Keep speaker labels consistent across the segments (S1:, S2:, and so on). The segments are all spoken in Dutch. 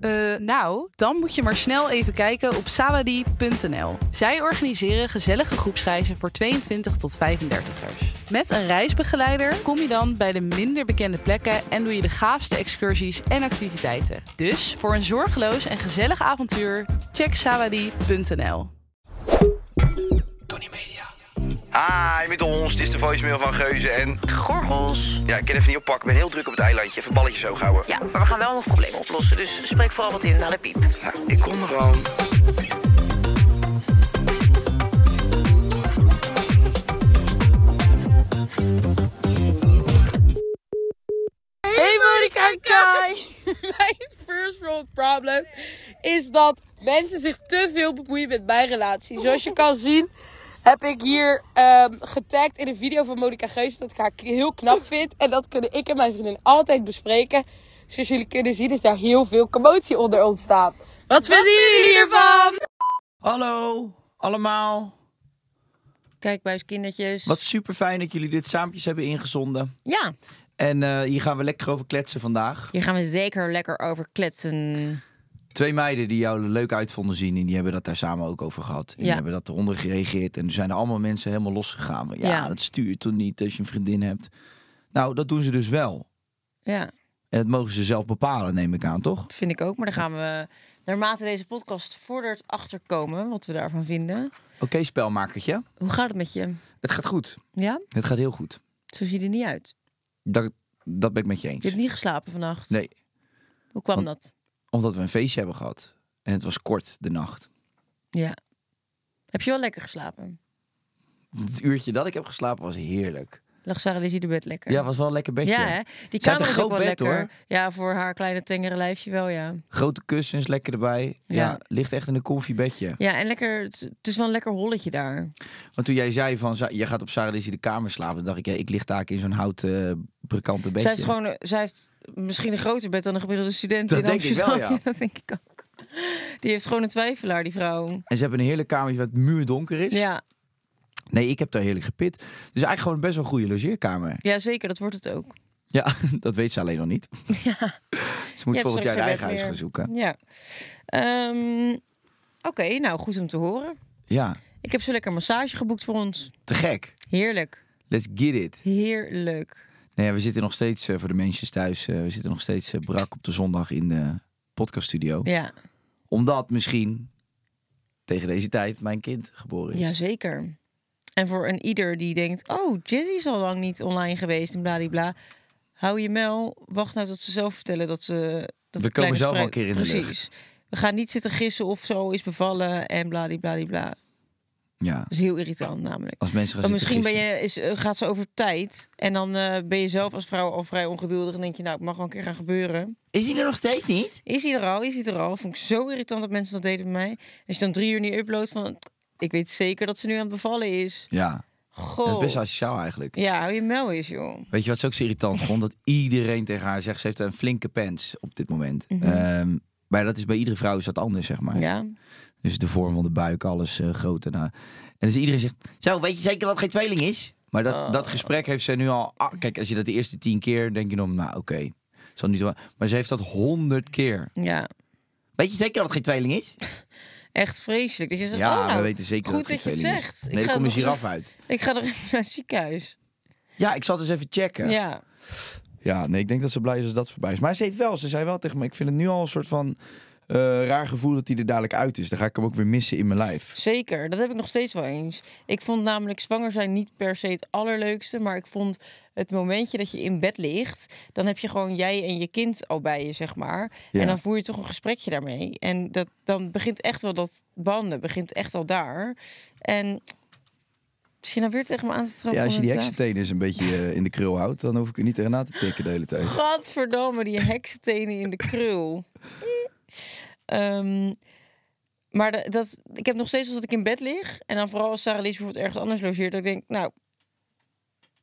S1: eh, nou, dan moet je maar snel even kijken op sawadie.nl. Zij organiseren gezellige groepsreizen voor 22 tot 35ers. Met een reisbegeleider kom je dan bij de minder bekende plekken en doe je de gaafste excursies en activiteiten. Dus voor een zorgeloos en gezellig avontuur, check sawadie.nl.
S2: Hi, met Ah, ons. Dit is de voicemail van Geuze en... Gorgels. Ja, ik kan even niet oppakken. Ik ben heel druk op het eilandje. Even balletjes hoog houden.
S3: Ja, maar we gaan wel nog problemen oplossen. Dus spreek vooral wat in naar de piep.
S2: Nou, ik kom er al.
S4: Hey Monika en Kai. Mijn first world problem is dat mensen zich te veel bemoeien met mijn relatie. Zoals je kan zien heb ik hier ehm, getagd in een video van Monika Geus dat ik haar k- heel knap vind. En dat kunnen ik en mijn vriendin altijd bespreken. Zoals jullie kunnen zien is daar heel veel commotie onder ontstaan. Wat vinden jullie hiervan?
S5: Hallo allemaal.
S6: Kijkbuiskindertjes.
S5: Wat super fijn dat jullie dit saampjes hebben ingezonden.
S6: Ja,
S5: En eh, hier gaan we lekker over kletsen vandaag.
S6: hier gaan we zeker lekker over kletsen.
S5: Twee meiden die jou er leuk uit vonden zien en die hebben dat daar samen ook over gehad. En die
S6: Ja.
S5: hebben dat eronder gereageerd. En er zijn er allemaal mensen helemaal losgegaan. van, Ja,
S6: Ja.
S5: dat stuurt toch niet als je een vriendin hebt. Nou, dat doen ze dus wel.
S6: Ja,
S5: En dat mogen ze zelf bepalen, neem ik aan, toch?
S6: vind ik ook. Maar daar gaan we naarmate deze podcast vordert achterkomen wat we daarvan vinden.
S5: Oké, spelmakertje.
S6: Hoe gaat het met je?
S5: Het gaat goed.
S6: Ja?
S5: Het gaat heel goed.
S6: Zo zie je er niet uit.
S5: Dat, dat ben ik met je
S6: Je
S5: eens.
S6: hebt niet geslapen vannacht.
S5: Nee,
S6: Hoe kwam
S5: Want-
S6: dat?
S5: omdat we een feestje hebben gehad. En het was kort, de nacht.
S6: Ja. Heb je wel lekker geslapen?
S5: Het uurtje dat ik heb geslapen was heerlijk.
S6: Lag Sarah Lizzie de bed lekker?
S5: Ja, was wel een lekker bedje.
S6: Ja, hè? Die
S5: Ze had
S6: kamer
S5: een
S6: is
S5: groot
S6: ook wel
S5: bed,
S6: lekker.
S5: hoor.
S6: Ja, voor haar kleine tengere lijfje wel, ja.
S5: Grote kussens, lekker erbij. Ja.
S6: Ja.
S5: ligt echt in een comfy bedje.
S6: Ja, en lekker, het het is wel een lekker holletje daar.
S5: Want toen jij zei van, je gaat op Sarah Lizzie de kamer slapen, dan dacht ik, ja, ik lig daar in zo'n houten, eh, brekante bedje.
S6: Zij heeft, gewoon, eh, zij heeft misschien een groter bed dan een gemiddelde student
S5: Dat
S6: in
S5: denk ik wel,
S6: Amsterdam.
S5: ja.
S6: dat denk ik ook. Die heeft gewoon een twijfelaar, die vrouw.
S5: En ze hebben een heerlijk kamertje wat muurdonker is.
S6: Ja,
S5: Nee, ik heb daar heerlijk gepit. Dus eigenlijk gewoon best wel een goede logeerkamer.
S6: ja, zeker, dat wordt het ook.
S5: Ja, dat weet ze alleen nog niet. Ja. Ze moet
S6: Je hebt
S5: volgend
S6: straks
S5: jaar
S6: geen
S5: een
S6: bed
S5: eigen huis
S6: meer.
S5: gaan zoeken.
S6: Ja. Ehm, Oké, nou goed om te horen.
S5: Ja,
S6: Ik heb zo lekker een massage geboekt voor ons.
S5: te gek.
S6: Heerlijk.
S5: Let's get it.
S6: Heerlijk.
S5: Nee, ja, we zitten nog steeds, eh, voor de mensen thuis, eh, we zitten nog steeds eh, brak op de zondag in de podcaststudio.
S6: Ja,
S5: Omdat misschien tegen deze tijd mijn kind geboren is.
S6: ja zeker. En voor een ieder die denkt, oh, Jizzy is al lang niet online geweest en bladibla. Hou je mel, wacht nou tot ze zelf vertellen dat ze... Dat
S5: We
S6: de
S5: komen
S6: kleine
S5: zelf wel
S6: spruit-
S5: een keer in de
S6: Precies. We gaan niet zitten gissen of zo is bevallen en bladibladibla. Dat
S5: Ja.
S6: is heel irritant namelijk.
S5: Als mensen gaan
S6: Want
S5: zitten
S6: Oh, misschien ben
S5: gissen.
S6: je, is, eh, gaat ze over tijd en dan eh, ben je zelf als vrouw al vrij ongeduldig en denk je, nou, het mag wel een keer gaan gebeuren.
S5: Is hij er nog steeds niet?
S6: Is hij er al? Is hij er al? Vond ik zo irritant dat mensen dat deden bij mij. Als je dan drie uur niet uploadt van, ik weet zeker dat ze nu aan het bevallen is.
S5: Ja,
S6: God.
S5: dat is best asociaal eigenlijk.
S6: Oh. Ja, hou je mel eens, joh.
S5: Weet je wat ze ook zo irritant vond? Dat iedereen tegen haar zegt, ze heeft een flinke pens op dit moment. Ehm, maar dat is bij iedere vrouw is dat anders, zeg maar.
S6: Mhm. Ja.
S5: Dus de vorm van de buik, alles eh, groot en... eh, en dus iedereen zegt, zo, weet je zeker dat het geen tweeling is? Maar dat, dat
S6: Oh.
S5: gesprek heeft ze nu al... ah, kijk, als je dat de eerste tien keer, denk je dan, nou oké. zal niet zo- Maar ze heeft dat honderd keer.
S6: Ja.
S5: Weet je zeker dat het geen tweeling is?
S6: Echt vreselijk. Dat je zegt,
S5: Ja,
S6: oh, nou,
S5: we weten zeker
S6: goed
S5: dat
S6: je het
S5: geen tweeling is.
S6: zegt.
S5: Nee,
S6: ga
S5: dan kom je
S6: nog eens-
S5: giraf uit.
S6: Ik ga er even naar het ziekenhuis.
S5: Ja, ik zal dus even checken.
S6: Ja.
S5: Ja, nee, ik denk dat ze blij is als dat voorbij is. Maar ze heeft wel, ze zei wel tegen me, ik vind het nu al een soort van eh, raar gevoel dat hij er dadelijk uit is. Dan ga ik hem ook weer missen in mijn lijf.
S6: Zeker, dat heb ik nog steeds wel eens. Ik vond namelijk zwanger zijn niet per se het allerleukste, maar ik vond het momentje dat je in bed ligt, dan heb je gewoon jij en je kind al bij je, zeg maar.
S5: Ja.
S6: En dan voer je toch een gesprekje daarmee. En dat, dan begint echt wel dat banden, begint echt al daar. En zit je nou weer tegen me aan te trappen?
S5: Ja, als je
S6: om
S5: die
S6: het te-
S5: heksentenen eens een beetje eh, in de krul houdt, dan hoef ik er niet tegenaan te tikken de hele tijd.
S6: Gadverdamme, die heksentenen in de krul. Ehm, maar da- dat, ik heb nog steeds als dat ik in bed lig... en dan vooral als Sarah Lies bijvoorbeeld ergens anders logeert... dat ik denk, nou,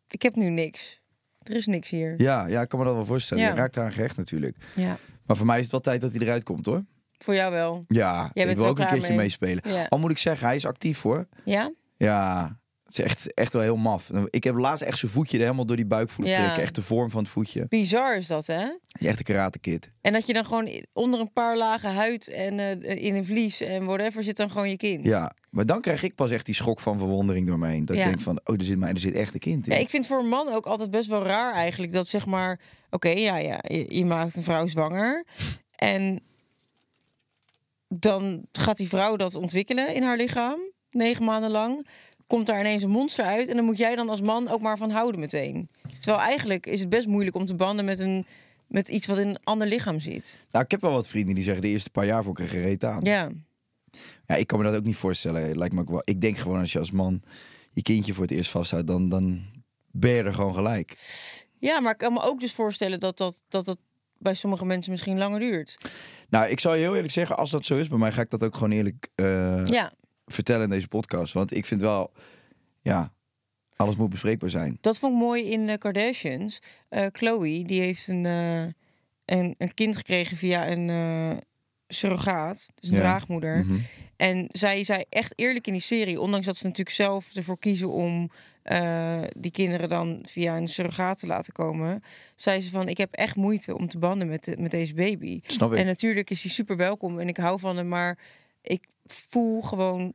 S6: ik heb nu niks. Er is niks hier.
S5: Ja, ja, ik kan me dat wel voorstellen.
S6: Ja.
S5: Je raakt eraan gerecht natuurlijk.
S6: Ja.
S5: Maar voor mij is het wel tijd dat hij eruit komt hoor.
S6: Voor jou wel.
S5: Ja,
S6: bent
S5: ik
S6: er
S5: wil ook een
S6: klaar
S5: keertje
S6: mee.
S5: meespelen.
S6: Ja.
S5: Al moet ik zeggen, hij is actief hoor.
S6: Ja?
S5: Ja, het is echt, echt wel heel maf. Ik heb laatst echt zijn voetje er helemaal door die buik voelen
S6: Ja.
S5: prikken. Echt de vorm van het voetje. Hij
S6: Bizar is dat, hè?
S5: is echt een karate kid.
S6: En dat je dan gewoon i- onder een paar lagen huid en eh, in een vlies en whatever zit dan gewoon je kind.
S5: Ja, Dus- maar dan krijg ik pas echt die schok van verwondering door me heen. Dat
S6: Ja.
S5: ik denk van, oh, er zit, mij, er zit echt een kind in.
S6: Ja, ik vind voor een man ook altijd best wel raar eigenlijk dat zeg maar, oké, ja, ja, je, je maakt een vrouw zwanger en dan gaat die vrouw dat ontwikkelen in haar lichaam, negen maanden lang, komt daar ineens een monster uit en dan moet jij dan als man ook maar van houden meteen. Terwijl eigenlijk is het best moeilijk om te banden met een met iets wat in een ander lichaam zit.
S5: Nou, ik heb wel wat vrienden die zeggen, de eerste paar jaar vond ik er gereed aan. Ja.
S6: Ja,
S5: ik kan me dat ook niet voorstellen. Het Lijkt me ook wel. Ik denk gewoon als je als man je kindje voor het eerst vasthoudt, dan, dan ben je er gewoon gelijk.
S6: ja, maar ik kan me ook dus voorstellen dat dat dat, dat bij sommige mensen misschien langer duurt.
S5: Nou, ik zal je heel eerlijk zeggen, als dat zo is bij mij, ga ik dat ook gewoon eerlijk eh,
S6: Ja,
S5: vertellen in deze podcast. Want ik vind wel, ja, alles moet bespreekbaar zijn.
S6: Dat vond ik mooi in de Kardashians. Eh Chloe, die heeft een, eh, een, een kind gekregen via een eh, surrogaat, dus een
S5: Ja.
S6: draagmoeder.
S5: Mhm.
S6: En zij zei echt eerlijk in die serie, ondanks dat ze natuurlijk zelf ervoor kiezen om eh, die kinderen dan via een surrogaat te laten komen, zei ze van: ik heb echt moeite om te banden met, de- met deze baby.
S5: Snap ik.
S6: En natuurlijk is hij super welkom en ik hou van hem, maar ik voel gewoon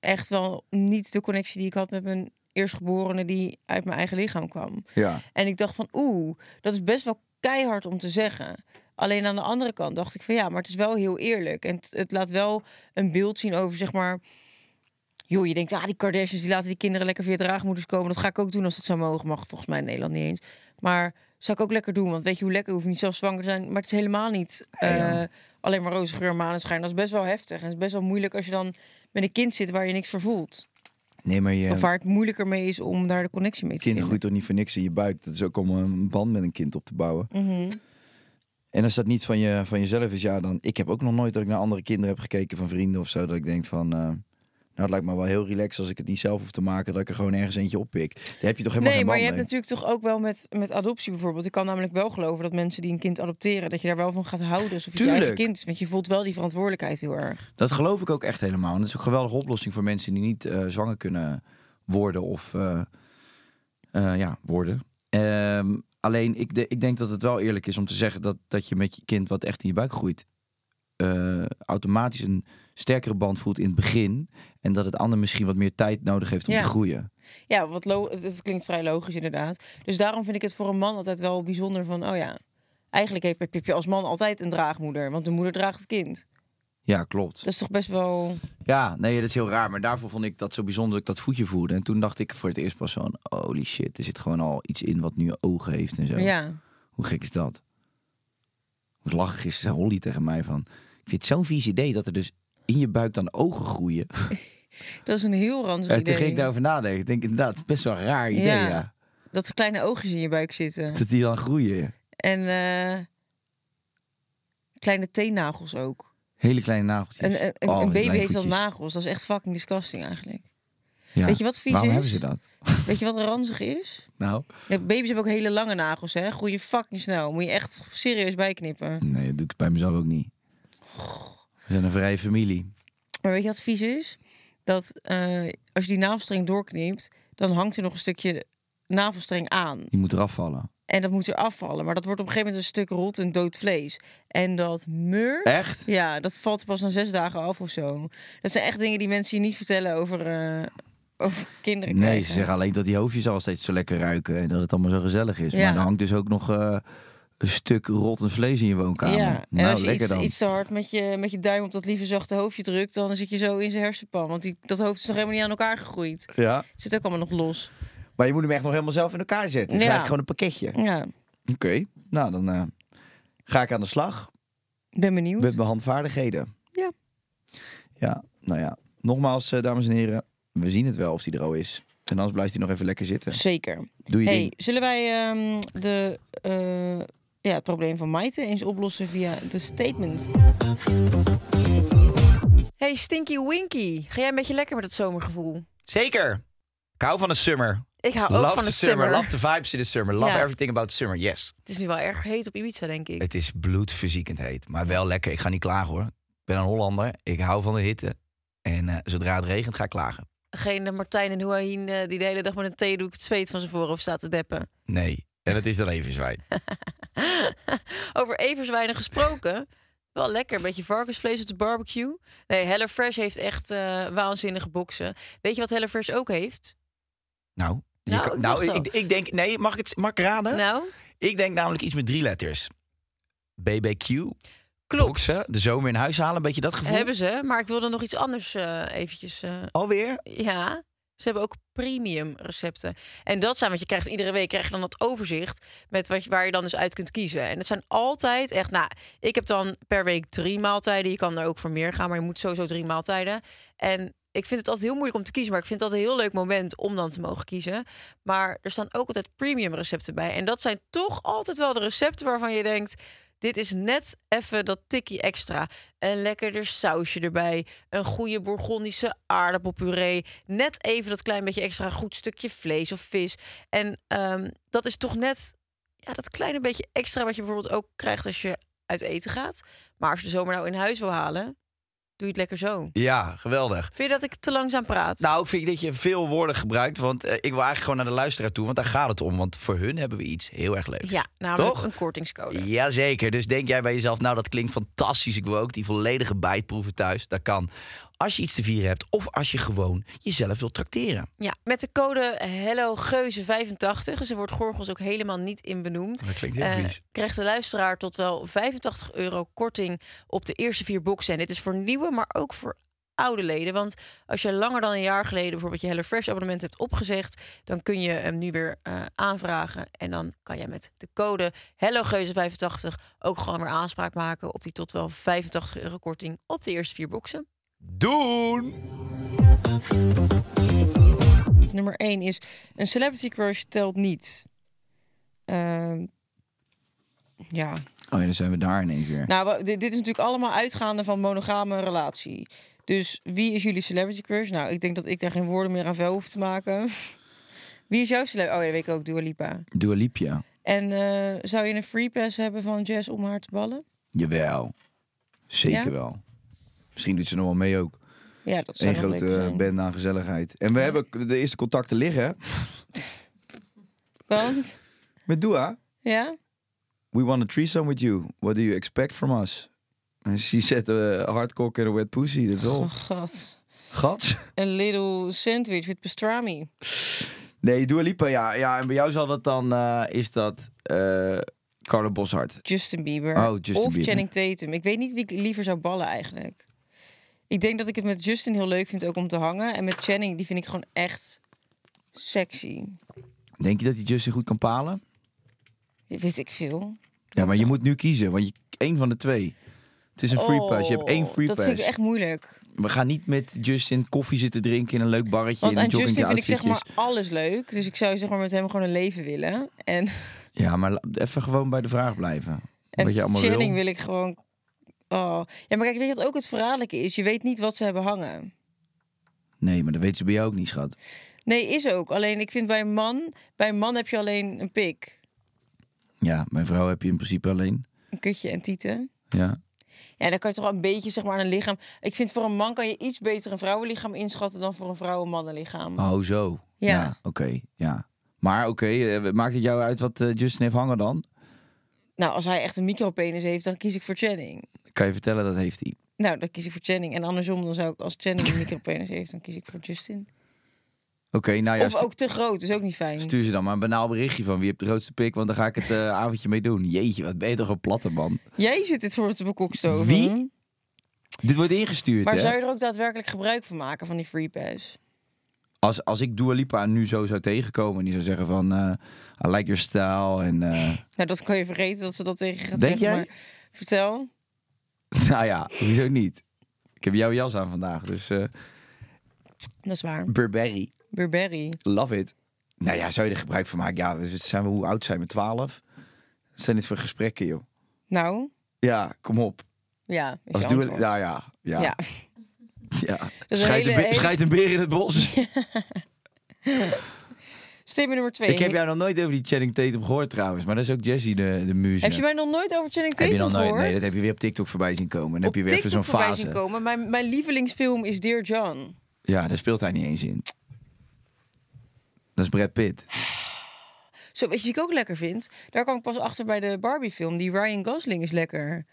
S6: echt wel niet de connectie die ik had met mijn eerstgeborene die uit mijn eigen lichaam kwam.
S5: Ja.
S6: En ik dacht van, oeh, dat is best wel keihard om te zeggen. Alleen aan de andere kant dacht ik van, ja, maar het is wel heel eerlijk. En het, het laat wel een beeld zien over, zeg maar... Joh, je denkt, ah, die Kardashians die laten die kinderen lekker via draagmoeders komen. Dat ga ik ook doen als dat zou mogen. Mag volgens mij in Nederland niet eens. Maar zou ik ook lekker doen, want weet je hoe lekker? Hoef je niet zelf zwanger te zijn. Maar het is helemaal niet eh, alleen maar roze geur, maneschijn. Dat is best wel heftig. En het is best wel moeilijk als je dan met een kind zit waar je niks voor voelt.
S5: Nee, maar je
S6: Of waar het moeilijker mee is om daar de connectie mee te
S5: kind
S6: vinden.
S5: groeit toch niet voor niks in je buik. Dat is ook om een band met een kind op te bouwen.
S6: Mhm.
S5: En als dat niet van, je, van jezelf is, ja, dan... Ik heb ook nog nooit dat ik naar andere kinderen heb gekeken van vrienden of zo. Dat ik denk van... eh, nou, het lijkt me wel heel relaxed als ik het niet zelf hoef te maken. Dat ik er gewoon ergens eentje oppik. Daar heb je toch helemaal
S6: Nee,
S5: geen
S6: maar je
S5: band
S6: hebt natuurlijk toch ook wel met, met adoptie bijvoorbeeld. Ik kan namelijk wel geloven dat mensen die een kind adopteren, dat je daar wel van gaat houden. Alsof het je eigen
S5: Tuurlijk.
S6: kind is. Want je voelt wel die verantwoordelijkheid heel erg.
S5: Dat geloof ik ook echt helemaal. En dat is ook een geweldige oplossing voor mensen die niet eh, zwanger kunnen worden of eh, eh, ja, worden. Ehm, alleen ik, de- ik denk dat het wel eerlijk is om te zeggen dat, dat je met je kind wat echt in je buik groeit, eh, automatisch een sterkere band voelt in het begin. En dat het ander misschien wat meer tijd nodig heeft om
S6: Ja.
S5: te groeien.
S6: Ja, wat lo- het- het klinkt vrij logisch inderdaad. Dus daarom vind ik het voor een man altijd wel bijzonder van, oh ja, eigenlijk heeft heb je als man altijd een draagmoeder. Want de moeder draagt het kind.
S5: Ja, klopt.
S6: Dat is toch best wel...
S5: Ja, nee, dat is heel raar. Maar daarvoor vond ik dat zo bijzonder dat ik dat voetje voelde. En toen dacht ik voor het eerst pas van, holy shit, er zit gewoon al iets in wat nu ogen heeft en zo.
S6: Ja.
S5: Hoe gek is dat? Hoe lachig is zei Holly tegen mij van... Ik vind het zo'n vies idee dat er dus in je buik dan ogen groeien.
S6: Dat is een heel ranzig
S5: En toen
S6: idee.
S5: ging ik daarover nadenken. Ik denk inderdaad, het is best wel een raar idee,
S6: Ja.
S5: ja.
S6: Dat er kleine oogjes in je buik zitten.
S5: Dat die dan groeien.
S6: En eh, kleine teennagels ook.
S5: Hele kleine nageltjes.
S6: Een, een, een
S5: Oh, wat
S6: baby
S5: kleine
S6: heeft al
S5: voetjes.
S6: nagels. Dat is echt fucking disgusting eigenlijk.
S5: Ja.
S6: Weet je wat vies
S5: Waarom
S6: is?
S5: hebben ze dat?
S6: Weet je wat ranzig is?
S5: Nou,
S6: Ja, baby's hebben ook hele lange nagels, hè? Groeien fucking snel. Moet je echt serieus bijknippen.
S5: nee, dat doe ik bij mezelf ook niet. We zijn een vrije familie.
S6: Maar weet je wat vies is? Dat eh, als je die navelstreng doorknipt, dan hangt er nog een stukje navelstreng aan.
S5: Die moet eraf vallen.
S6: En dat moet er afvallen. Maar dat wordt op een gegeven moment een stuk rot en dood vlees. En dat murs.
S5: Echt?
S6: Ja, dat valt pas na zes dagen af of zo. Dat zijn echt dingen die mensen je niet vertellen over, eh, over kinderen.
S5: Nee,
S6: krijgen.
S5: ze zeggen alleen dat die hoofdjes al steeds zo lekker ruiken. En dat het allemaal zo gezellig is.
S6: Ja.
S5: Maar er hangt dus ook nog eh, een stuk rottend vlees in je woonkamer.
S6: ja, en
S5: nou,
S6: als je
S5: lekker
S6: iets,
S5: dan.
S6: iets te hard met je, met je duim op dat lieve zachte hoofdje drukt, dan zit je zo in zijn hersenpan. Want die, dat hoofd is nog helemaal niet aan elkaar gegroeid.
S5: Ja.
S6: Zit ook allemaal nog los.
S5: Maar je moet hem echt nog helemaal zelf in elkaar zetten. Het is
S6: Ja.
S5: eigenlijk gewoon een pakketje.
S6: Ja,
S5: Oké, nou dan eh, ga ik aan de slag
S6: ik ben benieuwd.
S5: met mijn handvaardigheden.
S6: Ja.
S5: Ja, nou ja. Nogmaals, eh, dames en heren, we zien het wel of die er al is. En anders blijft hij nog even lekker zitten.
S6: Zeker.
S5: Doe je
S6: Hey,
S5: ding.
S6: zullen wij ehm, de, eh, ja, het probleem van Maite eens oplossen via de statement? Hey Stinky Winky, ga jij een beetje lekker met dat zomergevoel?
S7: Zeker. Ik hou van de summer.
S6: Ik hou ook
S7: love
S6: van
S7: the
S6: het
S7: summer.
S6: summer.
S7: Love the vibes in the summer. Love
S6: Ja.
S7: everything about summer. Yes.
S6: Het is nu wel erg heet op Ibiza, denk ik.
S7: Het is bloedverziekend heet. Maar wel lekker. Ik ga niet klagen hoor. Ik ben een Hollander. Ik hou van de hitte. En eh, zodra het regent ga ik klagen.
S6: Geen eh, Martijn en Houahin eh, die de hele dag met een theedoek het zweet van zijn voorhoofd staat te deppen.
S7: Nee. En het is dan even zwijn.
S6: Over everzwijnen gesproken. Wel lekker, een beetje varkensvlees op de barbecue. Nee, HelloFresh heeft echt eh, waanzinnige boksen. Weet je wat HelloFresh ook heeft?
S7: Nou. je
S6: Nou,
S7: kan-
S6: ik
S7: nou
S6: dacht al.
S7: ik, ik denk... Nee, mag ik het mag ik raden?
S6: Nou,
S7: Ik denk namelijk iets met drie letters. BBQ.
S6: klopt.
S7: Boksen. De zomer in huis halen. Een beetje dat gevoel.
S6: Hebben ze, maar ik wilde nog iets anders eh, eventjes. eh,
S7: Alweer?
S6: ja, ze hebben ook premium recepten. En dat zijn, want je krijgt iedere week krijg je dan dat overzicht met wat je, waar je dan dus uit kunt kiezen. En het zijn altijd echt, nou, ik heb dan per week drie maaltijden. Je kan er ook voor meer gaan, maar je moet sowieso drie maaltijden. En ik vind het altijd heel moeilijk om te kiezen, maar ik vind het altijd een heel leuk moment om dan te mogen kiezen. Maar er staan ook altijd premium recepten bij. En dat zijn toch altijd wel de recepten waarvan je denkt. Dit is net even dat tikkie extra. Een lekkerder sausje erbij. Een goede bourgondische aardappelpuree. Net even dat klein beetje extra goed stukje vlees of vis. En ehm, dat is toch net ja, dat kleine beetje extra wat je bijvoorbeeld ook krijgt als je uit eten gaat. Maar als je de zomer nou in huis wil halen, doe je het lekker zo.
S7: Ja, geweldig.
S6: Vind je dat ik te langzaam praat?
S7: Nou, ik vind dat je veel woorden gebruikt. Want eh, ik wil eigenlijk gewoon naar de luisteraar toe. Want daar gaat het om. Want voor hun hebben we iets heel erg leuks.
S6: ja, namelijk
S7: Toch?
S6: een
S5: Oh,
S6: kortingscode.
S7: Jazeker. Dus denk jij bij jezelf, nou dat klinkt fantastisch. Ik wil ook die volledige bijt proeven thuis. Dat kan. Als je iets te vieren hebt of als je gewoon jezelf wilt trakteren.
S6: Ja, met de code E HelloGeuze85, dus er wordt Gorgels ook helemaal niet in benoemd.
S7: Dat klinkt heel
S6: eh,
S7: vies.
S6: Krijgt de luisteraar tot wel 85 euro korting op de eerste vier boxen. En dit is voor nieuwe, maar ook voor oude leden. Want als je langer dan een jaar geleden bijvoorbeeld je E HelloFresh abonnement hebt opgezegd... dan kun je hem nu weer eh, aanvragen. En dan kan jij met de code E HelloGeuze85 ook gewoon weer aanspraak maken... op die tot wel 85 euro korting op de eerste vier boxen.
S7: Doen!
S6: Nummer 1 is een celebrity crush telt niet. Ehm, ja.
S5: Oh ja, dan zijn we daar in één keer.
S6: Nou, wa- dit, dit is natuurlijk allemaal uitgaande van monogame relatie. Dus wie is jullie celebrity crush? Nou, ik denk dat ik daar geen woorden meer aan vuil hoef te maken. Wie is jouw celebrity? Oh, ja, dat weet ik ook, Dua Lipa.
S5: Dua Lipa.
S6: En eh, zou je een free pass hebben van Jess om haar te ballen?
S5: Jawel. Zeker
S6: Ja?
S5: wel. Misschien doet ze nog wel mee ook.
S6: Ja, dat zou
S5: Een
S6: nog leuk
S5: grote eh,
S6: zijn.
S5: band aan gezelligheid. En we hebben de eerste contacten liggen. hè?
S6: Want,
S5: Met Dua.
S6: ja?
S5: We want a threesome with you. What do you expect from us? En eh, she said a hard cock and a wet pussy. Dat is al.
S6: Oh, god.
S5: Gats.
S6: Een little sandwich with pastrami.
S5: Nee, Dua Lipa, ja. ja en bij jou zal dat dan, eh, is dat eh Carlo Boshart.
S6: Justin Bieber.
S5: Oh, Justin
S6: of
S5: Bieber.
S6: Channing Tatum. Ik weet niet wie ik liever zou ballen eigenlijk. Ik denk dat ik het met Justin heel leuk vind ook om te hangen. En met Channing, die vind ik gewoon echt sexy.
S5: Denk je dat die Justin goed kan palen?
S6: Dat Weet ik veel.
S5: Ja, maar je moet nu kiezen, want je, één van de twee. Het is een free pass. Je hebt één
S6: Oh,
S5: free
S6: Dat
S5: pass.
S6: vind ik echt moeilijk.
S5: We gaan niet met Justin koffie zitten drinken in een leuk barretje
S6: Want
S5: in
S6: aan
S5: een
S6: Justin
S5: jogging
S6: vind ik zeg maar alles leuk. Dus ik zou zeg maar met hem gewoon een leven willen. En,
S5: Ja, maar la- even gewoon bij de vraag blijven.
S6: en
S5: Wat je allemaal
S6: Channing
S5: wil.
S6: wil ik gewoon... Oh. Ja, maar kijk, weet je wat ook het verraderlijke is? Je weet niet wat ze hebben hangen.
S5: Nee, maar dat weten ze bij jou ook niet, schat.
S6: Nee, is ook. Alleen ik vind bij een man... Bij een man heb je alleen een pik.
S5: Ja, mijn vrouw heb je in principe alleen.
S6: Een kutje en tieten.
S5: Ja.
S6: Ja, dan kan je toch wel een beetje zeg maar, aan een lichaam. Ik vind voor een man kan je iets beter een vrouwenlichaam inschatten dan voor een vrouw een mannenlichaam.
S5: Oh, zo.
S6: Ja.
S5: oké, ja. Maar oké, eh, maakt het jou uit wat eh, Justin heeft hangen dan?
S6: Nou, als hij echt een micropenis heeft, dan kies ik voor Channing.
S5: Kan je vertellen, dat heeft hij.
S6: Nou, dan kies ik voor Channing. En andersom, dan zou ik als Channing een micropenis heeft, dan kies ik voor Justin.
S5: Oké, nou ja,
S6: Of
S5: stu-
S6: ook te groot, is ook niet fijn.
S5: stuur ze dan maar een banaal berichtje van wie hebt de grootste pik, want dan ga ik het eh, avondje mee doen. Jeetje, wat ben je toch een platte man.
S6: Jij zit dit voor te bekokstoven.
S5: Wie? Dit wordt ingestuurd,
S6: Maar
S5: hè?
S6: zou je er ook daadwerkelijk gebruik van maken, van die free pass?
S5: Als, als ik Dua Lipa nu zo zou tegenkomen en die zou zeggen van... eh, I like your style en... eh,
S6: Nou, dat kan je vergeten dat ze dat tegen gaat
S5: Denk
S6: zeggen. Maar
S5: jij?
S6: vertel.
S5: nou ja, hoezo niet? Ik heb jouw jas aan vandaag, dus... eh,
S6: Dat is waar.
S5: Burberry.
S6: Burberry.
S5: Love it. Nou ja, zou je er gebruik van maken? Ja, we zijn we, hoe oud zijn we? 12? Wat zijn dit voor gesprekken, joh?
S6: Nou,
S5: Ja, kom op.
S6: ja. is
S5: Als
S6: je
S5: Dua,
S6: antwoord.
S5: nou ja, ja.
S6: Ja.
S5: ja.
S6: een
S5: Schijt,
S6: hele-
S5: een beer,
S6: hele-
S5: schijt een beer in het bos.
S6: Statement nummer twee.
S5: Ik heb jou nog nooit over die Channing Tatum gehoord trouwens. Maar dat is ook Jesse de, de muze.
S6: Heb je mij nog nooit over Channing
S5: Heb
S6: Tatum
S5: je nog nooit?
S6: gehoord?
S5: Nee, dat heb je weer op TikTok voorbij zien komen. Dan
S6: Op
S5: heb je weer even zo'n
S6: TikTok voorbij
S5: fase.
S6: zien komen. Mijn, mijn lievelingsfilm is Dear John.
S5: Ja, daar speelt hij niet eens in. Dat is Brad Pitt.
S6: Zo, weet je wat ik ook lekker vind? Daar kwam ik pas achter bij de Barbie-film. Die Ryan Gosling is lekker.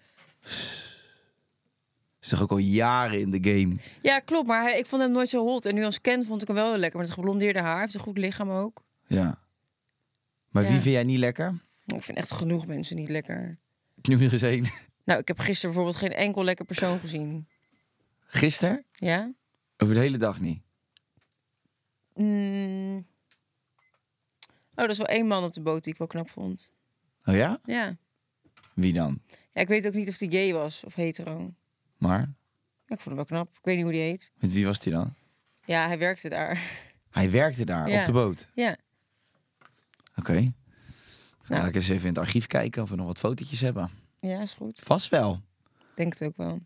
S5: Is toch ook al jaren in de game.
S6: Ja, klopt. Maar hij, ik vond hem nooit zo hot. En nu als Ken vond ik hem wel heel lekker. Met het geblondeerde haar. Heeft een goed lichaam ook.
S5: Ja. Maar wie
S6: Ja.
S5: vind jij niet lekker?
S6: Ik vind echt genoeg mensen niet lekker.
S5: Nu nog eens één.
S6: Nou, ik heb gisteren bijvoorbeeld geen enkel lekker persoon gezien.
S5: Gisteren?
S6: Ja?
S5: Over de hele dag niet.
S6: Mm. Oh, dat is wel één man op de boot die ik wel knap vond.
S5: Oh ja?
S6: Ja.
S5: Wie dan?
S6: ja ik weet ook niet of die gay was of hetero. Ja,
S5: Maar?
S6: ik vond hem wel knap. Ik weet niet hoe die heet.
S5: Met wie was die dan?
S6: Ja, hij werkte daar.
S5: Hij werkte daar,
S6: Ja.
S5: op de boot.
S6: Ja.
S5: Oké. Ga
S6: Nou.
S5: ik eens even in het archief kijken of we nog wat fotootjes hebben.
S6: Ja, is goed.
S5: Vast wel.
S6: Ik Denk het ook wel.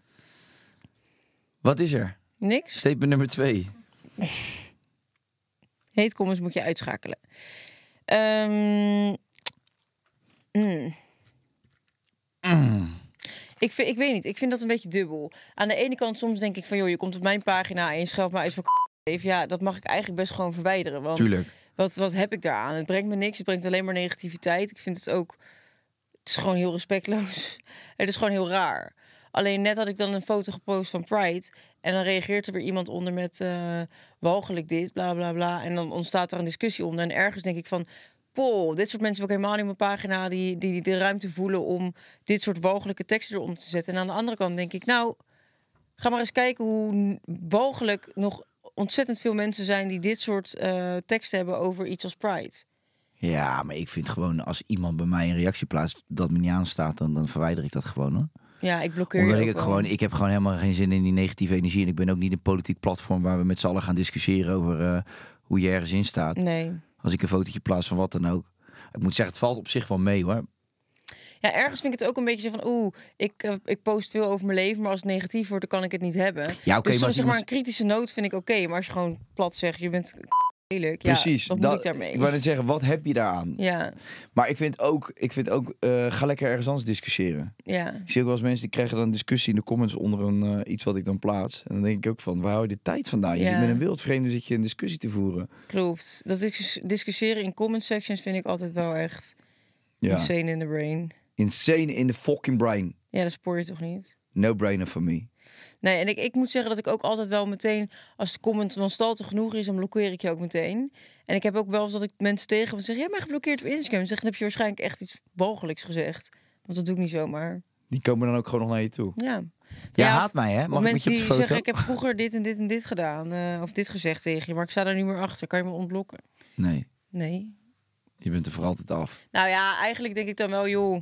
S5: Wat is er?
S6: Niks.
S5: Statement nummer twee.
S6: Heetcommens moet je uitschakelen. Ehm, mm. Ik, vind, ik weet niet, ik vind dat een beetje dubbel. Aan de ene kant soms denk ik van... joh, je komt op mijn pagina en je scheldt me uit voor k***leef. Ja, dat mag ik eigenlijk best gewoon verwijderen. Want
S5: Tuurlijk.
S6: Wat, wat heb ik daaraan? Het brengt me niks, het brengt alleen maar negativiteit. Ik vind het ook... Het is gewoon heel respectloos. Het is gewoon heel raar. Alleen net had ik dan een foto gepost van Pride... en dan reageert er weer iemand onder met... eh walgelijk dit, bla bla bla. En dan ontstaat er een discussie onder. En ergens denk ik van... Poh, dit soort mensen wil ik helemaal niet op mijn pagina... Die, die, die de ruimte voelen om dit soort walgelijke teksten erom te zetten. En aan de andere kant denk ik... Nou, ga maar eens kijken hoe n- walgelijk nog ontzettend veel mensen zijn... die dit soort eh, teksten hebben over iets als Pride.
S5: Ja, maar ik vind gewoon als iemand bij mij een reactie plaatst dat me niet aanstaat, dan, dan verwijder ik dat gewoon hoor.
S6: Ja, ik blokkeer
S5: Omdat
S6: je
S5: ik,
S6: ook
S5: ook
S6: wel.
S5: gewoon, ik heb gewoon helemaal geen zin in die negatieve energie. En ik ben ook niet een politiek platform waar we met z'n allen gaan discussiëren over eh, hoe je ergens in staat.
S6: Nee.
S5: Als ik een fotootje plaats van wat dan ook. Ik moet zeggen, het valt op zich wel mee hoor.
S6: Ja, ergens vind ik het ook een beetje zo van... oeh, ik, eh, ik post veel over mijn leven... maar als het negatief wordt, dan kan ik het niet hebben. Ja,
S5: maar
S6: dus soms,
S5: als
S6: zeg maar
S5: iemand-
S6: een kritische noot vind ik oké... maar als je gewoon plat zegt, je bent lelijk... ja, dan moet ik daarmee.
S5: Ik wou net zeggen, wat heb je daaraan?
S6: Ja,
S5: Maar ik vind ook, ik vind ook eh, ga lekker ergens anders discussiëren.
S6: ja.
S5: Ik zie ook wel eens mensen die krijgen dan een discussie in de comments onder een, eh, iets wat ik dan plaats. En dan denk ik ook van, waar hou je de tijd vandaan? Je
S6: Ja.
S5: zit met een wildvreemde zit je een discussie te voeren.
S6: Klopt. Dat is discussiëren in comment sections vind ik altijd wel echt
S5: Ja.
S6: insane in the brain.
S5: Insane in the fucking brain.
S6: Ja, dat spoor je toch niet?
S5: No brainer for me.
S6: Nee, en ik, ik moet zeggen dat ik ook altijd wel meteen... als de comment wanstaltig genoeg is, dan blokkeer ik je ook meteen. En ik heb ook wel eens dat ik mensen tegen me zeg... jij hebt mij geblokkeerd op Instagram. Dan zeg ik, dan heb je waarschijnlijk echt iets walgelijks gezegd. Want dat doe ik niet zomaar.
S5: Die komen dan ook gewoon nog naar je toe.
S6: Ja.
S5: Jij
S6: Ja,
S5: haat mij, hè?
S6: Of
S5: Mag ik met
S6: mensen
S5: je op de
S6: die
S5: foto?
S6: zeggen, ik heb vroeger dit en dit en dit gedaan. eh, of dit gezegd tegen je, maar ik sta daar niet meer achter. Kan je me ontblokken?
S5: Nee,
S6: Nee.
S5: je bent er voor altijd af.
S6: Nou ja, eigenlijk denk ik dan wel, joh.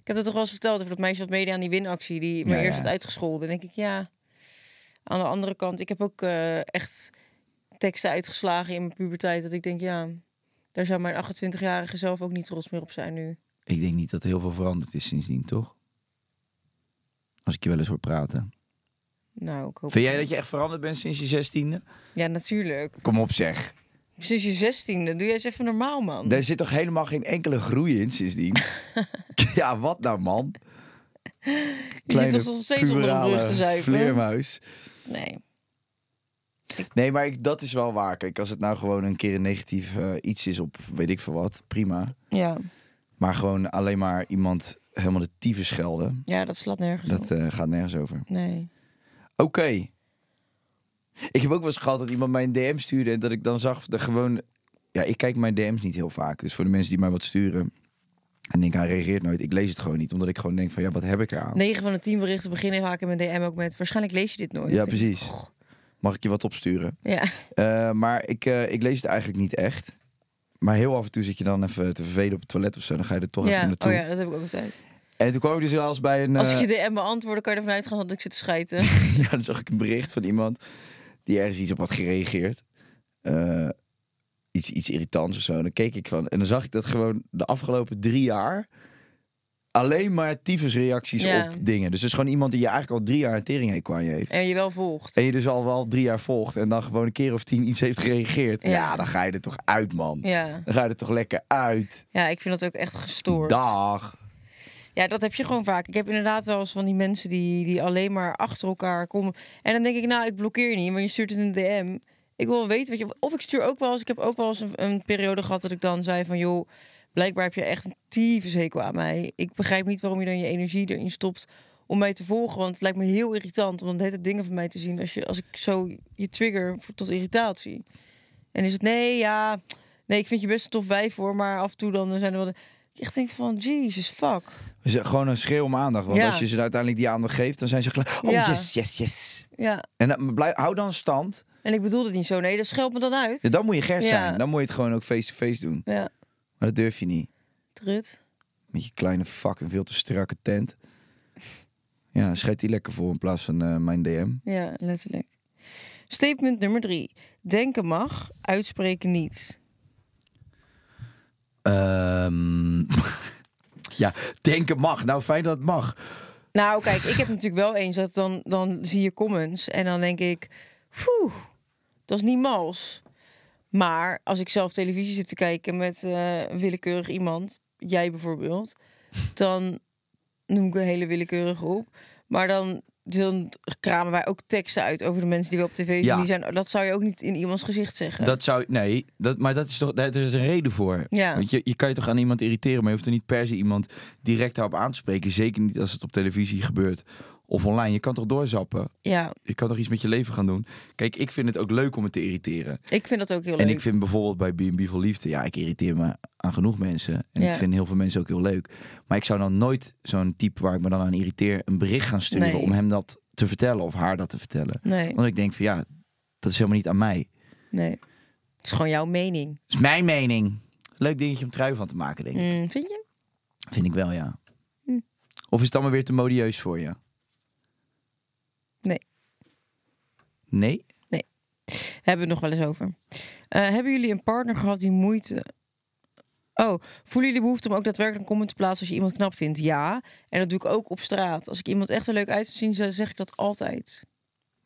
S6: Ik heb dat toch wel eens verteld over dat meisje wat meedeed aan die winactie, die me
S5: Ja,
S6: eerst
S5: ja.
S6: had uitgescholden. Dan denk ik, ja. Aan de andere kant, ik heb ook eh, echt teksten uitgeslagen in mijn puberteit. Dat ik denk, ja, daar zou mijn 28-jarige zelf ook niet trots meer op zijn nu.
S5: Ik denk niet dat er heel veel veranderd is sindsdien, toch? Als ik je wel eens hoor praten.
S6: Nou, ik hoop.
S5: Vind jij dat je echt veranderd bent sinds je zestiende?
S6: Ja, natuurlijk.
S5: Kom op zeg.
S6: Mm. Sinds je 16 doe jij eens even normaal, man.
S5: Er zit toch helemaal geen enkele groei in sindsdien? ja, wat nou man?
S6: Je zit toch nog steeds onder de brug te zuipen.
S5: vleermuis.
S6: Nee.
S5: Nee, maar ik, dat is wel waar. Kijk, als het nou gewoon een keer een negatief eh, iets is op weet ik veel wat, prima.
S6: Ja.
S5: Maar gewoon alleen maar iemand helemaal de tyfus schelden, eh,
S6: ja, dat slaat nergens op.
S5: dat eh, gaat nergens over.
S6: Nee.
S5: Oké, Ik heb ook wel eens gehad dat iemand mij een DM stuurde en dat ik dan zag dat gewoon. Ja, ik kijk mijn DM's niet heel vaak. Dus voor de mensen die mij wat sturen en denk hij reageert nooit, ik lees het gewoon niet, omdat ik gewoon denk van ja, wat heb ik eraan?
S6: 9 van de 10 berichten beginnen vaak in mijn DM ook met... waarschijnlijk lees je dit nooit.
S5: Ja,
S6: En-
S5: precies. Mag ik je wat opsturen?
S6: Ja.
S5: Eh, maar ik, eh, ik lees het eigenlijk niet echt. Maar heel af en toe zit je dan even te vervelen op het toilet of zo. Dan ga je er toch even
S6: Ja,
S5: naartoe.
S6: oh ja, dat heb ik ook altijd.
S5: En toen kwam ik dus wel eens bij een...
S6: Als ik
S5: eh,
S6: je DM beantwoord, kan je ervan uitgaan dat ik zit te schijten.
S5: ja, dan zag ik een bericht van iemand die ergens iets op had gereageerd. Eh, iets, iets irritants of zo. Dan keek ik van. En dan zag ik dat gewoon de afgelopen drie jaar. Alleen maar tyfusreacties
S6: Ja.
S5: op dingen. Dus het is gewoon iemand die je eigenlijk al drie jaar een tering aan je heeft.
S6: en je wel volgt.
S5: En je dus al wel drie jaar volgt. En dan gewoon een keer of tien iets heeft gereageerd. Ja,
S6: Ja.
S5: dan ga je er toch uit, man.
S6: Ja.
S5: Dan ga je er toch lekker uit.
S6: ja, ik vind dat ook echt gestoord.
S5: Dag.
S6: Ja, dat heb je gewoon vaak. Ik heb inderdaad wel eens van die mensen die, die alleen maar achter elkaar komen. En dan denk ik, nou, ik blokkeer je niet, maar je stuurt het een DM. Ik wil wel weten wat je... Of ik stuur ook wel eens... Ik heb ook wel eens een, een periode gehad dat ik dan zei van... joh, blijkbaar heb je echt een tyfushekel aan mij. Ik begrijp niet waarom je dan je energie erin stopt om mij te volgen. Want het lijkt me heel irritant om dan de hele tijd dingen van mij te zien... als, je, als ik zo je trigger voor, tot irritatie. En is het, nee, ja... Nee, ik vind je best een tof wijf hoor, maar af en toe dan zijn er wel... de- Ik echt denk van, Jesus, fuck.
S5: Dus gewoon een schreeuw om aandacht. Want
S6: Ja.
S5: als je ze uiteindelijk die aandacht geeft, dan zijn ze gelijk. Oh,
S6: Ja.
S5: yes, yes, yes.
S6: Ja,
S5: En dan blijf, hou dan stand.
S6: en ik bedoel het niet zo. Nee, dat scheldt me dan uit.
S5: Ja, dan moet je ger
S6: Ja.
S5: zijn. Dan moet je het gewoon ook face-to-face doen.
S6: Ja,
S5: Maar dat durf je niet.
S6: trut.
S5: Met je kleine fucking veel te strakke tent. Ja, scheid die lekker voor in plaats van eh, mijn DM.
S6: Ja, letterlijk. Statement nummer drie. Denken mag, uitspreken niet.
S5: Ehm, ja, denken mag. Nou, fijn dat het mag.
S6: Nou, kijk, ik heb natuurlijk wel eens dat dan, dan zie je comments en dan denk ik... Poeh, dat is niet mals. Maar als ik zelf televisie zit te kijken met eh, een willekeurig iemand, jij bijvoorbeeld... dan noem ik een hele willekeurige op. Maar dan, dan kramen wij ook teksten uit over de mensen die we op tv zien.
S5: Ja.
S6: Die zijn, dat zou je ook niet in iemands gezicht zeggen.
S5: Dat zou, nee, dat, maar dat is toch, daar is een reden voor.
S6: Ja.
S5: Want je, je kan je toch aan iemand irriteren, maar je hoeft er niet per se iemand direct daarop aan te spreken. Zeker niet als het op televisie gebeurt of online. Je kan toch doorzappen?
S6: Ja,
S5: Je kan toch iets met je leven gaan doen? Kijk, ik vind het ook leuk om het te irriteren.
S6: ik vind dat ook heel leuk.
S5: En ik vind bijvoorbeeld bij B&B voor Liefde, ja, ik irriteer me aan genoeg mensen. En
S6: Ja.
S5: ik vind heel veel mensen ook heel leuk. Maar ik zou dan nooit zo'n type waar ik me dan aan irriteer een bericht gaan sturen
S6: Nee.
S5: om hem dat te vertellen of haar dat te vertellen.
S6: Nee,
S5: Want ik denk van ja, dat is helemaal niet aan mij. Dat
S6: nee. Het is gewoon jouw mening.
S5: is mijn mening. Leuk dingetje om trui van te maken, denk ik.
S6: Mm, vind je?
S5: Vind ik wel, ja. Of is het allemaal weer te modieus voor je?
S6: Nee.
S5: Nee?
S6: Hebben we het nog wel eens over. Eh, hebben jullie een partner gehad die moeite... Oh, voelen jullie behoefte om ook daadwerkelijk een comment te plaatsen als je iemand knap vindt? Ja. En dat doe ik ook op straat. Als ik iemand echt er leuk uit zie, zien, zeg ik dat altijd.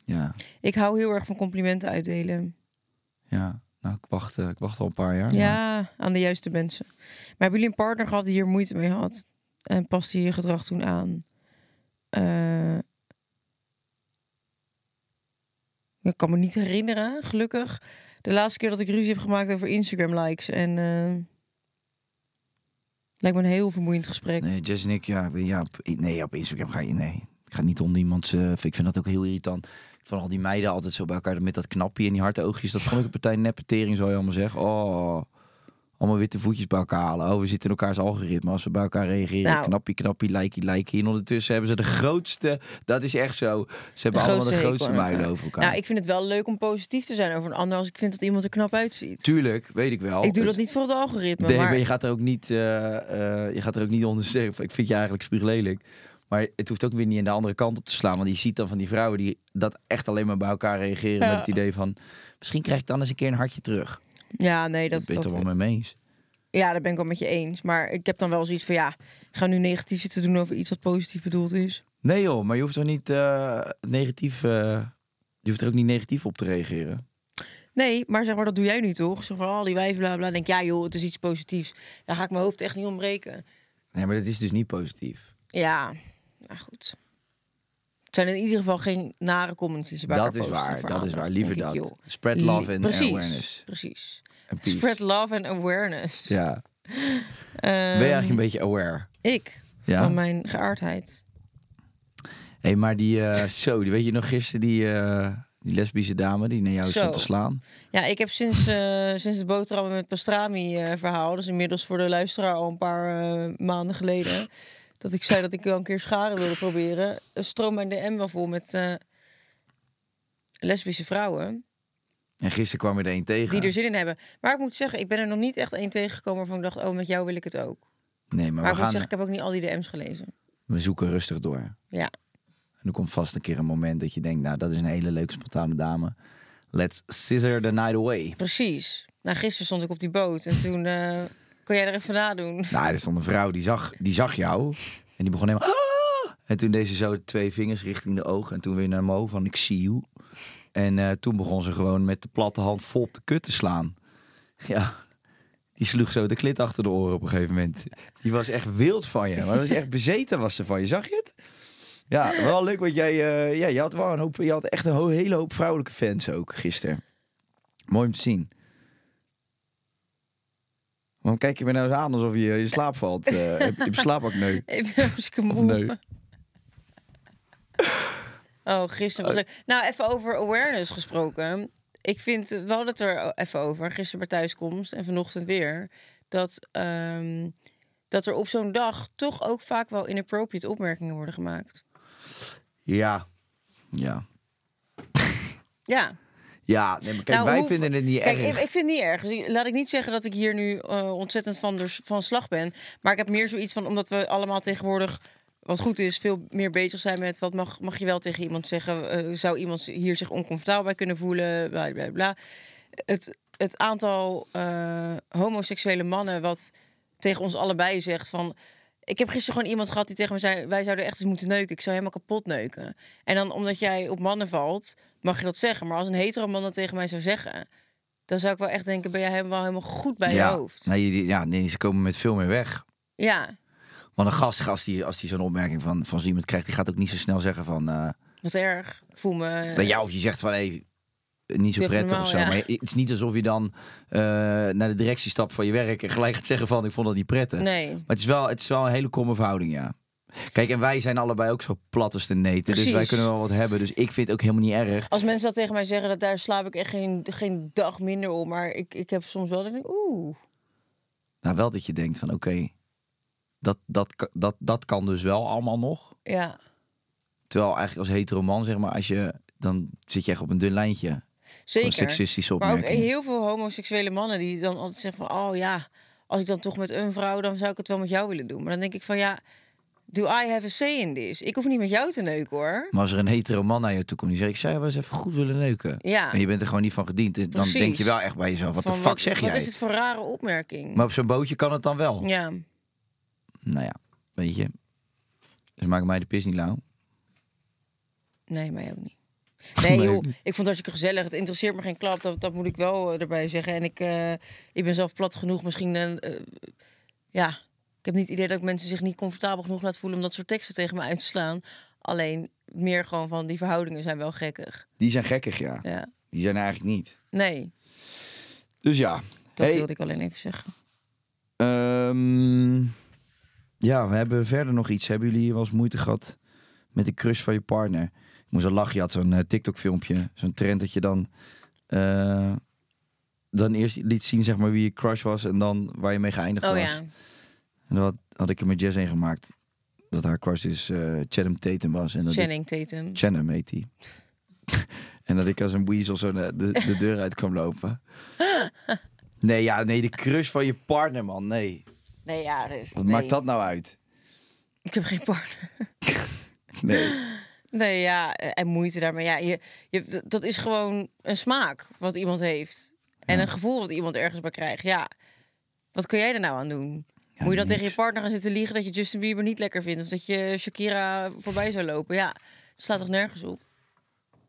S5: Ja,
S6: Ik hou heel erg van complimenten uitdelen.
S5: ja. Nou, ik wacht, eh, ik wacht al een paar jaar. maar-
S6: Ja, aan de juiste mensen. Maar hebben jullie een partner gehad die hier moeite mee had? En paste je gedrag toen aan? Eh, ik kan me niet herinneren, gelukkig. De laatste keer dat ik ruzie heb gemaakt over Instagram-likes. En eh, lijkt me een heel vermoeiend gesprek.
S5: Nee, Jess en ik, ja, we- ja op, nee, op Instagram ga je, nee. Ik ga niet onder iemands, eh, ik vind dat ook heel irritant. Van al die meiden altijd zo bij elkaar met dat knappie en die harde oogjes. Dat vond ik een partij neppetering, zou je allemaal zeggen. Oh, allemaal witte voetjes bij elkaar halen. Oh, we zitten in elkaars algoritme. Als we bij elkaar reageren,
S6: Nou.
S5: knappie, knappie, likey, likey. En ondertussen hebben ze de grootste, dat is echt zo. Ze hebben allemaal de
S6: hekel
S5: grootste
S6: aan
S5: muilen over elkaar.
S6: Nou, ik vind het wel leuk om positief te zijn over een ander als ik vind dat iemand er knap uitziet.
S5: Tuurlijk, weet ik wel.
S6: ik doe dat
S5: Het-
S6: niet voor het algoritme.
S5: Nee,
S6: maar...
S5: maar je gaat er ook niet, eh, eh, je gaat er ook niet onder zeggen. van, Ik vind je eigenlijk spuuglelijk. Maar het hoeft ook weer niet aan de andere kant op te slaan. Want je ziet dan van die vrouwen die dat echt alleen maar bij elkaar reageren.
S6: Ja.
S5: Met het idee van, misschien krijg ik dan eens een keer een hartje terug.
S6: Ja, nee, dat,
S5: Dat, ben je
S6: dat,
S5: toch wel mee mee eens.
S6: Ja, daar ben ik wel met je eens. Maar ik heb dan wel zoiets van ja, ik ga nu negatief zitten doen over iets wat positief bedoeld is.
S5: Nee joh, maar je hoeft toch niet eh, negatief... eh, je hoeft er ook niet negatief op te reageren.
S6: Nee, maar zeg maar, dat doe jij nu toch? Zeg van al die wijven, bla bla. Denk ja, joh, het is iets positiefs. Daar ga ik mijn hoofd echt niet ontbreken.
S5: Nee, maar dat is dus niet positief.
S6: Ja, nou goed. Het zijn in ieder geval geen nare comments die ze bij
S5: Dat
S6: elkaar
S5: is
S6: posten
S5: waar,
S6: voor
S5: dat is
S6: aandacht,
S5: waar. Liever
S6: denk ik,
S5: dat.
S6: joh.
S5: Spread love
S6: Li-
S5: and
S6: precies,
S5: awareness.
S6: Precies.
S5: En peace.
S6: Spread love and awareness.
S5: Ja.
S6: Ehm,
S5: Ben je eigenlijk een beetje aware?
S6: Ik,
S5: Ja?
S6: van mijn geaardheid.
S5: Hé, maar die eh, zo, die weet je nog gisteren die, eh, Die lesbische dame die naar jou
S6: Zo.
S5: stond te slaan.
S6: Ja, ik heb sinds, eh, sinds het boterhammen met pastrami eh, verhaal, dus inmiddels voor de luisteraar al een paar eh, maanden geleden, dat ik zei dat ik wel een keer scharen wilde proberen, eh, stroom mijn DM wel vol met eh, lesbische vrouwen
S5: En gisteren kwam er één tegen.
S6: die dus- er zin in hebben. Maar ik moet zeggen, ik ben er nog niet echt één tegengekomen waarvan ik dacht, oh, met jou wil ik het ook. Maar,
S5: Nee, maar,
S6: ik moet
S5: we gaan.
S6: zeggen, ik heb ook niet al die DM's gelezen.
S5: We zoeken rustig door. En
S6: Ja,
S5: er komt vast een keer een moment dat je denkt, nou, dat is een hele leuke spontane dame. Let's scissor the night away.
S6: precies. Nou, gisteren stond ik op die boot en toen eh, kon jij er even nadoen.
S5: Nou, er stond een vrouw die zag, die zag jou. En die begon helemaal. "Ah!" En toen deed ze zo twee vingers richting de ogen. En toen weer naar Mo van ik zie you. En eh, toen begon ze gewoon met de platte hand vol op de kut te slaan. Ja. Die sloeg zo de klit achter de oren op een gegeven moment. Die was echt wild van je. Maar dat was echt bezeten was ze van je. Zag je het? Ja, wel leuk. Want jij eh, ja, je had wel een hoop. Je had echt een ho- hele hoop vrouwelijke fans ook gisteren. Mooi om te zien. Waarom kijk je me nou eens aan alsof je in slaap valt? Eh, heb je slaap ook nee?
S6: Ik ben hartstikke
S5: Of
S6: moe.
S5: nee?
S6: Oh, gisteren was leuk. Nou, even over awareness gesproken. Ik vind eh, wel dat er even over, gisteren bij thuiskomst en vanochtend weer, dat, ehm, dat er op zo'n dag toch ook vaak wel inappropriate opmerkingen worden gemaakt.
S5: Ja. Ja.
S6: Ja.
S5: Ja, nee, maar kijk,
S6: Nou,
S5: wij
S6: hoe-
S5: vinden het niet
S6: Kijk,
S5: erg.
S6: ik, ik vind het niet erg. Dus ik- Laat ik niet zeggen dat ik hier nu eh, ontzettend van, dus van slag ben. Maar ik heb meer zoiets van, omdat we allemaal tegenwoordig, wat goed is, veel meer bezig zijn met wat mag, mag je wel tegen iemand zeggen. eh, zou iemand hier zich oncomfortabel bij kunnen voelen? Bla bla bla. Het, het aantal eh, homoseksuele mannen wat tegen ons allebei zegt van. Ik heb gisteren gewoon iemand gehad die tegen me zei: Wij zouden echt eens moeten neuken. Ik zou helemaal kapot neuken. En dan omdat jij op mannen valt, mag je dat zeggen. Maar als een hetero man dat tegen mij zou zeggen, dan zou ik wel echt denken: Ben jij helemaal, helemaal goed bij
S5: ja.
S6: je hoofd?
S5: Nee, jullie- ja, nee, ze komen met veel meer weg.
S6: Ja,
S5: Want een gast, als die, als die zo'n opmerking van, van zo iemand krijgt, die gaat ook niet zo snel zeggen van... eh
S6: wat erg. Ik voel me.
S5: bij jou of je zegt van, hé, niet zo
S6: Doe even
S5: prettig of
S6: normaal,
S5: zo.
S6: ja.
S5: Maar het is niet alsof je dan eh, naar de directie stapt van je werk en gelijk gaat zeggen van, ik vond dat niet prettig.
S6: Nee.
S5: Maar het is wel, het is wel een hele kromme verhouding, ja. Kijk, en wij zijn allebei ook zo plat als de neten. Dus wij
S6: Precies.
S5: kunnen wel wat hebben. Dus ik vind het ook helemaal niet erg.
S6: Als mensen dat tegen mij zeggen, dat daar slaap ik echt geen, geen dag minder om. Maar ik, ik heb soms wel dat ik denk: Oeh.
S5: Nou, wel dat je denkt van, oké, dat, dat, ka- dat, dat kan dus wel allemaal nog.
S6: Ja.
S5: Terwijl eigenlijk als hetero man, zeg maar, als je, dan zit je echt op een dun lijntje.
S6: Zeker.
S5: Gewoon seksistische
S6: maar ook
S5: opmerkingen.
S6: heel veel homoseksuele mannen die dan altijd zeggen van... oh ja, als ik dan toch met een vrouw... dan zou ik het wel met jou willen doen. Maar dan denk ik van ja, do I have a say in this? Ik hoef niet met jou te neuken hoor.
S5: Maar als er een hetero man naar je toe komt, die zegt, ik zou je wel eens even goed willen neuken.
S6: Ja.
S5: Maar je bent er gewoon niet van gediend. Dus Dan
S6: Precies.
S5: denk je wel echt bij jezelf, wat de
S6: Van,
S5: fuck zeg
S6: Wat
S5: jij?
S6: is het voor rare opmerking?
S5: Maar op zo'n bootje kan het dan wel.
S6: Ja,
S5: Nou ja, weet je. Ze maken mij de pis niet lauw.
S6: nee, mij ook niet. Nee
S5: Mij ook
S6: joh,
S5: niet.
S6: ik vond het hartstikke gezellig. Het interesseert me geen klap, dat, dat moet ik wel eh, erbij zeggen. En ik, eh, ik ben zelf plat genoeg misschien... eh, eh, ja, ik heb niet het idee dat ik mensen zich niet comfortabel genoeg laat voelen... om dat soort teksten tegen me uit te slaan. Alleen meer gewoon van die verhoudingen zijn wel gekkig.
S5: Die zijn gekkig, ja.
S6: Ja.
S5: Die zijn er eigenlijk niet.
S6: Nee,
S5: Dus ja.
S6: dat
S5: Hey,
S6: wilde ik alleen even zeggen.
S5: ehm, ja, we hebben verder nog iets. Hebben jullie wel eens moeite gehad met de crush van je partner? Ik moest al lachen. Je had zo'n eh, TikTok-filmpje. Zo'n trend dat je dan... eh, dan eerst liet zien zeg maar, wie je crush was en dan waar Nou, je mee geëindigd
S6: Oh
S5: was.
S6: ja.
S5: En dat had ik er met Jess in gemaakt. Dat haar crush dus eh Channing Tatum was. En dat ik-
S6: Channing Tatum.
S5: Channing heet die. en dat ik als een weasel zo naar de, de deur uit kwam lopen. Nee, ja, nee, de crush van je partner, man. Nee,
S6: Nee, ja, dus,
S5: wat
S6: nee.
S5: maakt dat nou uit?
S6: Ik heb geen partner.
S5: Nee.
S6: Nee, ja, eh, en moeite daarmee. Ja, je, je, d- dat is gewoon een smaak wat iemand heeft. En een gevoel wat iemand ergens bij krijgt. Ja, wat kun jij er nou aan doen? Moet je dan tegen je
S5: niks.
S6: partner gaan zitten liegen dat je Justin Bieber niet lekker vindt? Of dat je Shakira voorbij zou lopen? Ja, het slaat toch nergens op?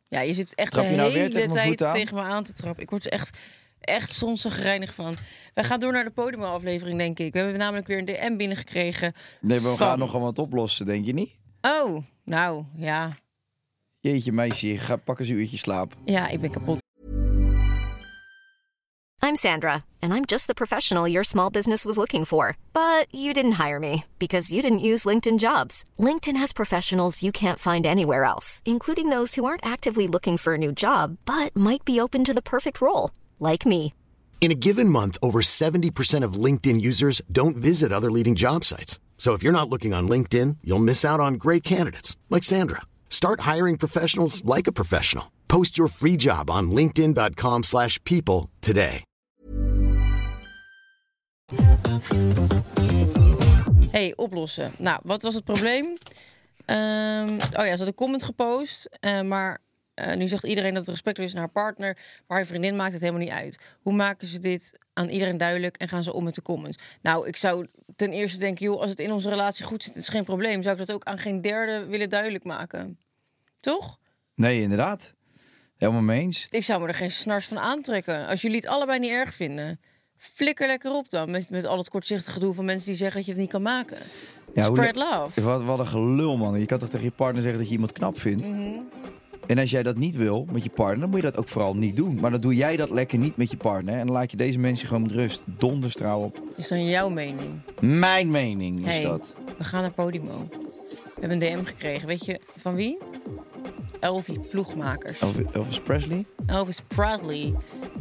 S6: Ja, je zit echt
S5: Trap
S6: de
S5: je nou weer
S6: hele
S5: tegen mijn
S6: tijd
S5: voet aan?
S6: tegen me aan te trappen. Ik word er echt, echt soms zo gereinig van. We gaan door naar de podiumaflevering, denk ik. We hebben namelijk weer een DM binnengekregen.
S5: Nee, maar we
S6: van-
S5: gaan nogal wat oplossen, denk je niet?
S6: Oh, nou, ja.
S5: Jeetje meisje, ga pak eens een uurtje slaap.
S6: Ja, ik ben kapot.
S8: I'm Sandra, and I'm just the professional your small business was looking for. But you didn't hire me because you didn't use LinkedIn jobs. LinkedIn has professionals you can't find anywhere else, including those who aren't actively looking for a new job but might be open to the perfect role, like me.
S9: In a given month, over 70% of LinkedIn users don't visit other leading job sites. So if you're not looking on LinkedIn, you'll miss out on great candidates like Sandra. Start hiring professionals like a professional. Post your free job on linkedin.com/people slash people today.
S6: hey, oplossen. Nou, wat was het probleem? Ehm, oh ja, ze had een comment gepost, eh, maar eh, nu zegt iedereen dat het respectloos is naar haar partner, maar haar vriendin maakt het helemaal niet uit. Hoe maken ze dit aan iedereen duidelijk en gaan ze om met de comments? Nou, ik zou ten eerste denken, joh, als het in onze relatie goed zit, het is geen probleem. Zou ik dat ook aan geen derde willen duidelijk maken? Toch?
S5: Nee, inderdaad. Helemaal mee eens.
S6: Ik zou me er geen snars van aantrekken. Als jullie het allebei niet erg vinden, flikker lekker op dan. Met, met al het kortzichtige gedoe van mensen die zeggen dat je het niet kan maken.
S5: hoe-
S6: Spread love.
S5: Wat, wat een gelul, man. Je kan toch tegen je partner zeggen dat je iemand knap vindt?
S6: Mhm.
S5: En als jij dat niet wil met je partner, dan moet je dat ook vooral niet doen. Maar dan doe jij dat lekker niet met je partner. En dan laat je deze mensen gewoon met rust. Donders trouw op.
S6: Is dan jouw mening?
S5: Mijn mening is
S6: Hey,
S5: dat.
S6: We gaan naar Podimo. We hebben een DM gekregen. Weet je van wie? Elvie Ploegmakers.
S5: Elvis, Elvis Presley?
S6: Elvis Presley.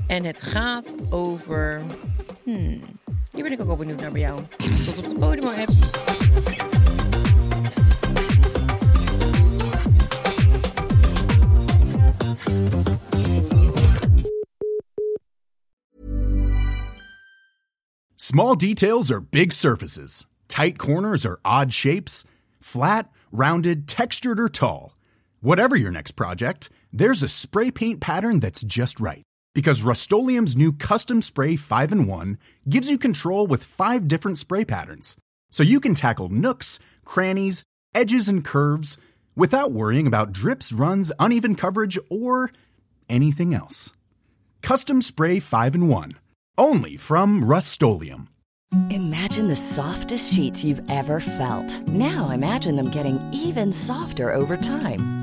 S6: En het gaat over... Hmm, hier ben ik ook wel benieuwd naar bij jou. Tot op de Podimo-app.
S10: Small details are big surfaces. Tight corners are odd shapes. Flat, rounded, textured, or tall. Whatever your next project, there's a spray paint pattern that's just right. Because Rust new Custom Spray 5 in 1 gives you control with five different spray patterns. So you can tackle nooks, crannies, edges, and curves without worrying about drips, runs, uneven coverage, or anything else. Custom Spray 5 in 1. Only from Rust
S11: Imagine the softest sheets you've ever felt. Now imagine them getting even softer over time.